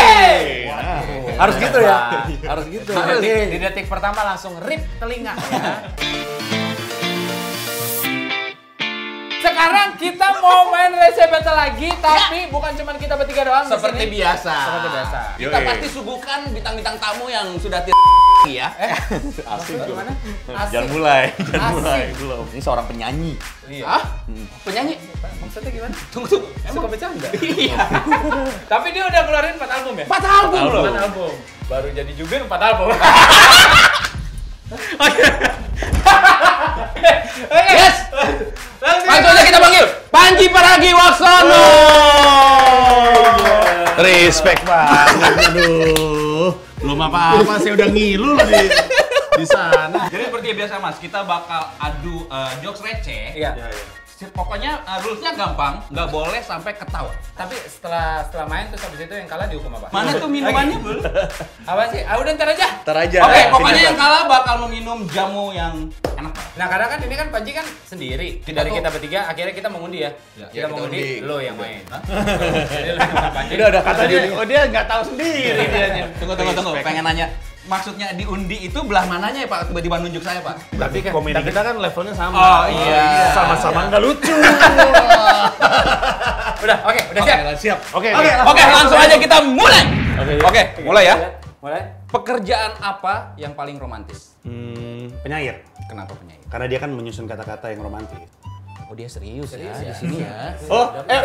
Yeay! Harus gitu ya. Harus gitu. Harus. Oke. Di detik pertama langsung rip telinga ya. Sekarang kita mau main rese battle lagi, tapi bukan cuma kita bertiga doang di Ya. Seperti sini. biasa. Seperti biasa. Kita Yoi. pasti suguhkan bintang-bintang tamu yang sudah tidak ya. Asik tuh. Gimana? Jangan mulai, jangan Asik. mulai belum. Ini seorang penyanyi. Hah? Penyanyi? Maksudnya gimana? Tunggu tunggu. Suka bercanda? Iya. tapi dia udah keluarin 4 album ya? Empat album loh. Empat album. Baru jadi juga 4 album. Oke. Yes. Langsung Langsung saja kita panggil Panji Pragiwaksono. Respect banget, aduh. Belum apa-apa, saya udah ngilu loh di, di sana. Jadi seperti Ya, biasa Mas, kita bakal adu eh, jokes receh. Iya. Si- Pokoknya eh, rules-nya gampang, nggak boleh sampai ketawa. Tapi setelah setelah main terus habis itu yang kalah dihukum apa? Mana tuh minumannya, Bul? Apa sih? Ah udah ntar aja. Ntar aja. Oke, pokoknya yang kalah bakal meminum jamu yang enak banget. Nah karena kan ini kan Panji kan sendiri Kita dari tuh- kita bertiga akhirnya kita mengundi ya. Ya, kita ya, kita mengundi undi. lo yang main. Jadi lo yang Panji. Udah, udah, kata dia. Oh dia nggak tahu Iya, sendiri dia. Tunggu, tunggu, tunggu. Pengen nanya. Maksudnya diundi itu belah mananya ya Pak? Tiba-tiba nunjuk saya Pak. Tapi kan komedi Kita kan levelnya sama. Oh iya. sama-sama nggak lucu. Udah oke udah Oke, siap. Siap. Oke. Oke, oke, langsung aja kita mulai. Oke, mulai ya. Mulai. Pekerjaan apa yang paling romantis? Hmm, penyair. Kenapa penyanyi? Karena dia kan menyusun kata-kata yang romantis. Oh dia serius, Serius ya? ya, di sini ya. Oh, eh,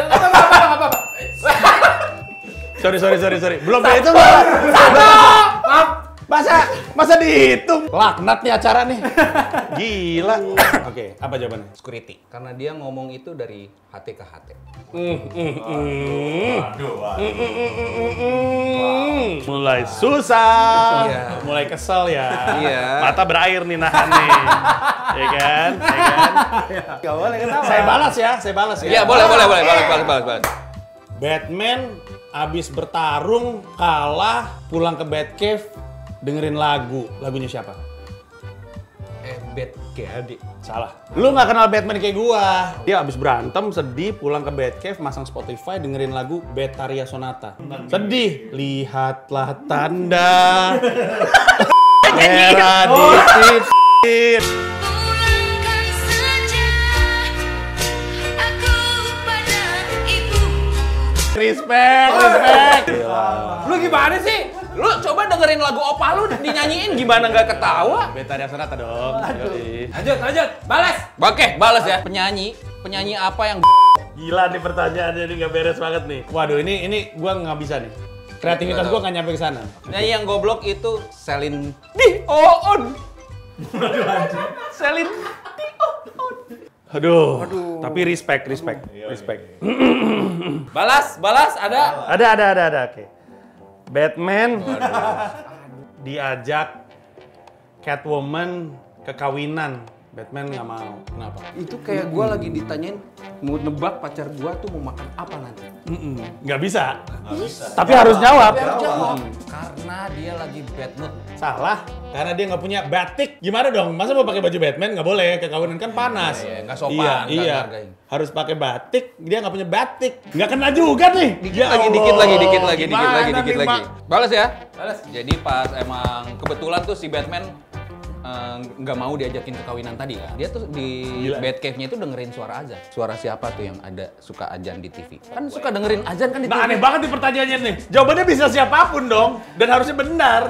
sorry, sorry, sorry, sorry. Belum dihitung. Maaf. Masa, masa dihitung? Laknat nih acara nih. Gila. Oke, apa jawabannya? Security. Karena dia ngomong itu dari hati ke hati. Mulai susah, mulai kesel ya. Iya. Mata berair nih nahan nih. ya kan? Ya kan? Gak boleh ketawa. Saya balas ya, saya balas ya. Iya, boleh, boleh, boleh, boleh, boleh, boleh, boleh. Batman abis bertarung kalah pulang ke Batcave dengerin lagu. Lagunya siapa? Eh, bad kayak adik. Salah. Lu nggak kenal Batman kayak gua. Dia abis berantem, sedih, pulang ke Batcave, masang Spotify, dengerin lagu Betaria Sonata. Sedih. Lihatlah tanda. gitu. Merah di titik. Pulangkan saja aku pada ibu. Respect, respect. Lu gimana sih? Lu coba dengerin lagu opa lu dinyanyiin gimana nggak ketawa? Betaria Sonata dong. Yoi. Lanjut lanjut. Balas. Oke, balas ya. Penyanyi, penyanyi apa yang Gila nih pertanyaannya ini nggak beres banget nih. Waduh ini ini gua nggak bisa nih. Kreativitas gua nggak nyampe ke sana. penyanyi yang goblok itu Selin Dion. Selin. Aduh. Tapi respect, respect, Iya, respect. Balas balas ada. Ada ada ada ada. Oke. Batman diajak Catwoman ke kawinan. Batman nggak mau. Kenapa? Itu kayak gue lagi ditanyain mau nebak pacar gua tuh mau makan apa nanti. Mm-mm. Nggak bisa. Tapi harus jawab. Jawab. Karena dia lagi bad mood. Salah. Karena dia nggak punya batik. Gimana dong? Masa mau pakai baju Batman nggak boleh? Ke kawinan kan panas. Iya, iya, nggak sopan, Iya, nggak iya. dihargain. Harus pakai batik. Dia nggak punya batik. Nggak kena juga nih. Ya Dikit Ya lagi, dikit lagi, dikit lagi, dikit Gimana lagi, dikit nih, lagi. Mak? Balas ya. Balas. Jadi pas emang kebetulan tuh si Batman eh, nggak mau diajakin ke kawinan tadi kan. Dia tuh di Gila. Batcave-nya itu dengerin suara azan. Suara siapa tuh yang ada suka azan di TV? Kan suka dengerin azan kan di Nah, TV. aneh banget nih pertanyaannya nih. Jawabannya bisa siapapun dong. Dan harusnya benar.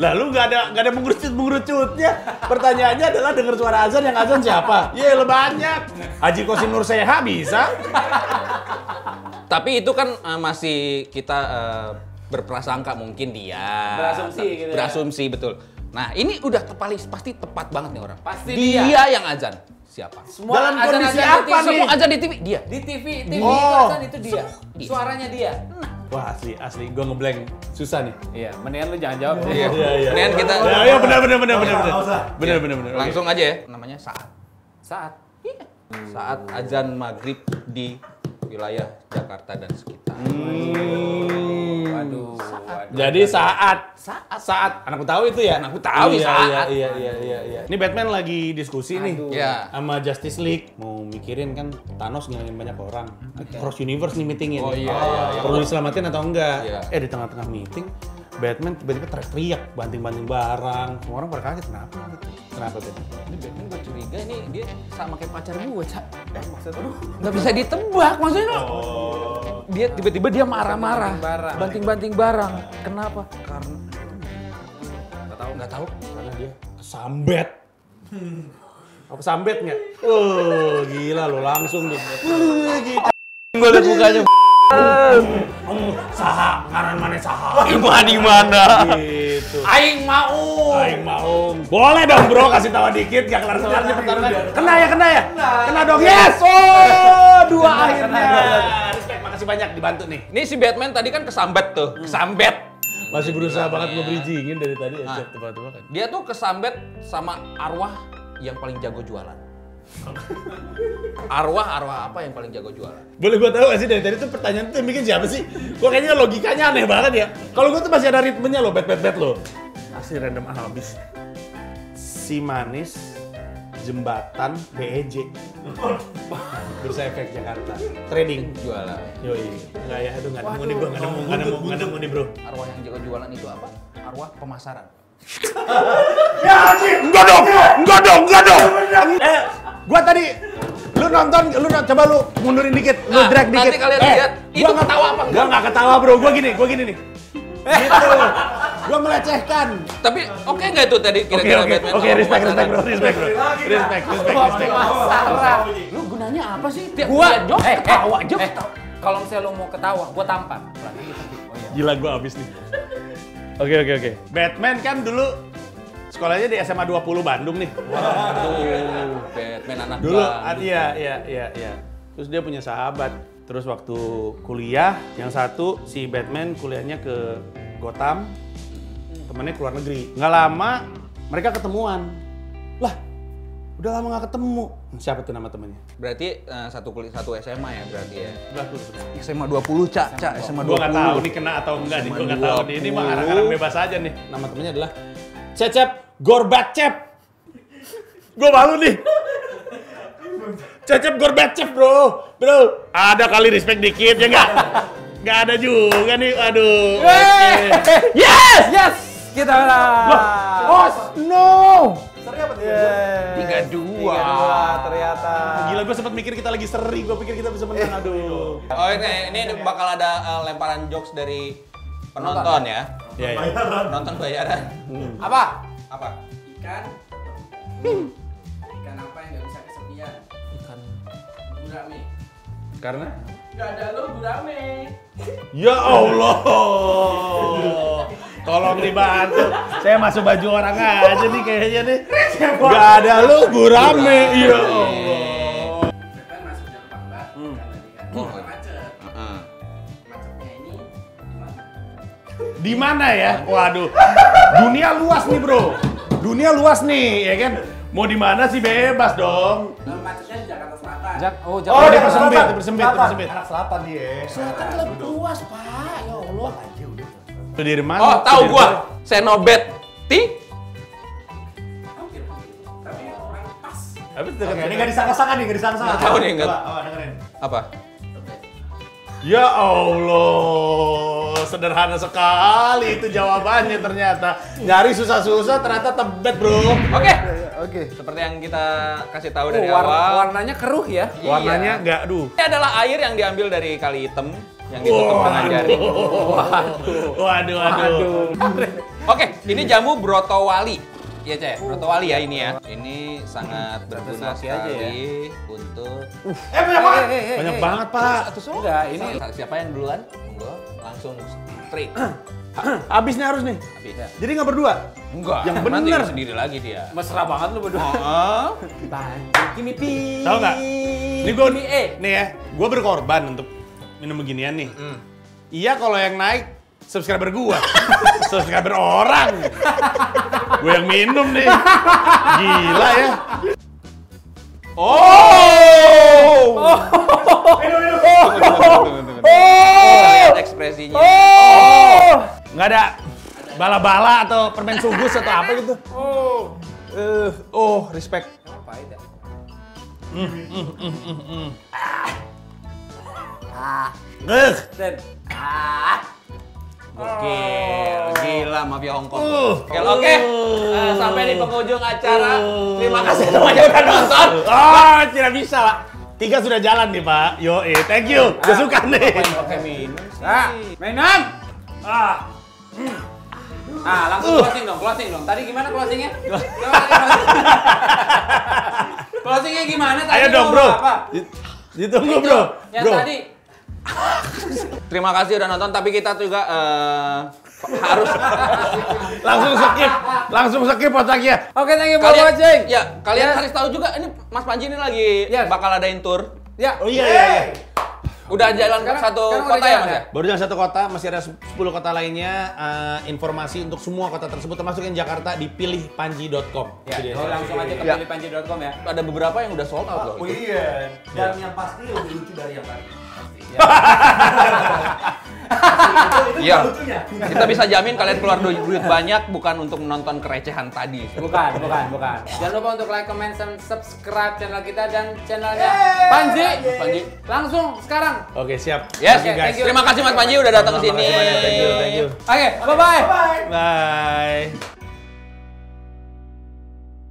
Lalu nggak ada nggak ada mengerucut mengerucutnya. Pertanyaannya adalah dengar suara azan yang azan siapa? Ye, lo banyak. Haji Kosim Nur Seha bisa. Tapi itu kan eh, masih kita eh, berprasangka mungkin dia. Berasumsi gitu ya. Berasumsi betul. Nah, ini udah kepali pasti tepat banget nih orang. Pasti dia. dia. yang azan. Siapa? Semua Dalam azan-azan kondisi di apa TV. Semua azan di TV dia. Di TV, TV Oh. itu azan itu dia. Dia. Suaranya dia. Wah asli asli gue ngeblank susah nih. Iya, mendingan lu jangan jawab. Iya. Mendingan kita Ya, ya benar benar benar benar benar. Benar benar benar. Oke. langsung aja ya. Namanya saat. Saat. Iya. Saat azan maghrib Hmm, di wilayah Jakarta dan sekitar. Waduh. waduh. Hmm. Jadi saat saat saat anakku tahu itu ya. Anakku tahu, iya, saat. Iya iya iya iya iya. Ini Batman lagi diskusi nih. Iya. Sama Justice League mau mikirin kan Thanos ngilangin banyak orang. Cross universe nih meetingnya. Oh, nih. iya, iya, iya. Perlu diselamatin atau enggak? Iya. Eh di tengah-tengah meeting Batman tiba-tiba teriak-teriak, banting-banting barang. Semua orang pada kaget, kenapa? gitu? Kenapa Batman? Ini Batman gue curiga ini dia sama kayak pacar gue, Cak. Nggak bisa ditebak, maksudnya lo. Dia tiba-tiba dia marah-marah. Banting-banting barang. Kenapa? Karena... Nggak tahu. Nggak tahu. Karena dia kesambet. Apa sambet nggak? Oh, gila lo langsung nih. Wuh, gitu. Gue udah bukanya. Saha, ngaran mana saha? Di mana? Gitu. Aing mau. Aing mau. Boleh dong bro kasih tahu dikit gak kelar kelar di pertarungan. Kena ya kena ya. Kena dong. Yes. Oh dua akhirnya. Respect makasih banyak dibantu nih. Ini si Batman tadi kan kesambet tuh. Kesambet. Masih berusaha banget gue berijingin dari tadi. ya, Cep, tiba-tiba kan. Dia tuh kesambet sama arwah yang paling jago jualan. Arwah-arwah apa yang paling jago jualan? Boleh gue tahu gak sih dari tadi tuh pertanyaan tuh yang bikin siapa sih? Gue kayaknya logikanya aneh banget ya. Kalau gue tuh masih ada ritmenya loh, bet bet bet loh. Masih random abis. Si manis jembatan E BEJ. Bursa Efek Jakarta. Trading. Jualan. Yoi. Enggak ya, aduh nggak nemu nih bro, nggak nemu, nggak nemu, nggak nemu nih bro. Arwah yang jago jualan itu apa? Arwah pemasaran. Enggak dong, enggak dong, enggak dong. Eh, gua tadi lu nonton, lu no- coba lu mundurin dikit, lu Nah, drag nanti dikit. Eh, kalian lihat, itu gua nggak- ketawa apa Eh. enggak? Gua nggak ketawa bro, gua gini, gua gini nih. Gitu. Gua melecehkan. Tapi oke nggak itu tadi Oke kira-kira oke Batman oke, sama respect pemasaran? respect bro, respect bro, respect respect respect. Sarah. Lu gunanya apa sih? Tiap Gua jok eh, ketawa eh, jok eh, Kalau misalnya lo mau ketawa, gua tampar. Gila gua abis nih. Oke oke oke. Batman kan dulu sekolahnya di SMA 20 Bandung nih. Aduh, Batman anak Dulu, bang. ah, iya, iya, iya, iya. Terus dia punya sahabat. Terus waktu kuliah, yang satu si Batman kuliahnya ke Gotham, temennya keluar negeri. Nggak lama mereka ketemuan. Lah, udah lama nggak ketemu. Siapa tuh nama temennya? Berarti eh, satu kulit satu SMA ya berarti ya. Udah, aku lupa. SMA 20, Cak, Cak, SMA 20. Gua nggak tahu nih kena atau enggak nih. Gua nggak tahu nih. Ini mah arang-arang bebas aja nih. Nama temennya adalah Cecep Gorbacep. Gua malu nih. Cecep Gorbacep, Bro. Bro, ada kali respect dikit ya enggak? Enggak ada juga nih. Aduh. Oke. Yes, yes. Kita menang. Oh, no. 32. ternyata. Gila gua sempat mikir kita lagi seri. Gua pikir kita bisa menang. Aduh. Oh ini ini bakal ada eh, lemparan jokes dari penonton ya. Ya, ya. Penonton bayaran. iya. Apa? Apa? ikan ikan apa yang nggak bisa kesepian ikan gurame Karena nggak ada lo gurame Ya Allah. Tolong dibantu. Saya masuk baju orang aja nih kayaknya nih. Gak ada lu gurame. Ya Allah. kan masuk jam pangkat karena dia karena macet Heeh. macetnya ini di mana Di mana ya? Waduh. Dunia luas nih, Bro. Dunia luas nih, ya kan? Mau di mana sih bebas dong. Nah, macetnya di Jakarta Selatan Jak, oh, Jak. Oh, dia persembit, dia persembit, dia persembit. selatan dia. Ya Sudirman. Oh, tahu Sudirman. gua. Senobet Ti hampir begitu tapi kurang pas Apa itu dekat Ini gak disangka-sangka nih, gak disangka-sangka. Nggak tahu nih, nggak- Coba, coba dengerin. apa? Ya Allah, sederhana sekali itu jawabannya ternyata. Nyari susah-susah ternyata tebet, Bro. Oke. Oke. Seperti yang kita kasih tahu dari Oh, warna- awal. warnanya keruh ya. Iya. Warnanya enggak, duh. Ini adalah air yang diambil dari kali hitam yang ditutup dengan jari. Waduh, waduh, waduh. Oke, ini jamu brotowali. Iya, Ceh. Brotowali ya ini ya. Ini sangat berguna selasi aja ya. sekali untuk Eh, banyak banget. Banyak banget, Pak. Enggak, ini siapa yang duluan? Monggo, langsung straight. Abis nih harus nih. Habis. Jadi nggak berdua. Enggak. Yang nanti bener. sendiri lagi dia. mesra banget lu berdua. Heeh. Kimi pi. Tahu nggak? Ini gue Kimi E. nih ya, gue berkorban untuk minum beginian nih. Iya kalau yang naik subscriber gua, subscriber orang. gue yang minum nih. Gila ya. Oh. Tunggu, tunggu, tunggu, tunggu, tunggu. Lihat ekspresinya. Oh! nggak ada bala-bala atau permen sugus atau apa gitu. Oh. Eh, oh, respect. Emang pahit ya? Eh, Ten. Ah. Gokil, Oh. gila mafia Hongkong. Uh. Oke, oke. Eh, sampai di penghujung acara. Terima kasih semuanya udah nonton. ah, tidak bisa pak. Tiga sudah jalan nih pak. Yo, eh, thank you. Gue suka nih. Oke, minum sih. Nah, mainan. Ah, Nah, Hmm. langsung closing dong, closing dong. Tadi gimana closingnya? Coba tadi closing. closingnya gimana tadi? ayo lu dong ngomong bro. apa? Dit- Ditunggu bro. Yang Bro. tadi. Terima kasih udah nonton, tapi kita juga eh, harus Langsung skip, langsung skip ya. otaknya. Oke, thank you for watching. Ya, kalian Yes. harus tahu juga ini Mas Panji ini lagi Yes. bakal adain tour. Ya. Oh iya, iya, iya. Udah jalan ke Sekarang- satu sekarang udah kota ya, jalan Mas ya? ya? Baru jalan satu kota, masih ada 10 kota lainnya. Eh, informasi untuk semua kota tersebut termasuk yang Jakarta dipilih panji.com. Ya, Itu dia. lo langsung aja ke Ya. pilihpanji.com ya. Ada beberapa yang udah sold out loh. Oh iya. Dan yang pasti lebih lucu dari yang tadi. Iya. Lucunya. Kita bisa jamin kalian keluar duit duit banyak bukan untuk menonton kerecehan tadi. Bukan, bukan, bukan. Jangan lupa untuk like, comment, dan subscribe channel kita dan channelnya Panji. Panji. Langsung sekarang. Oke, siap. Yes, Thank you, guys. you. terima kasih Mas Panji udah datang ke sini. Makasih banyak. Thank you, thank you. Oke, bye-bye. Bye. Bye.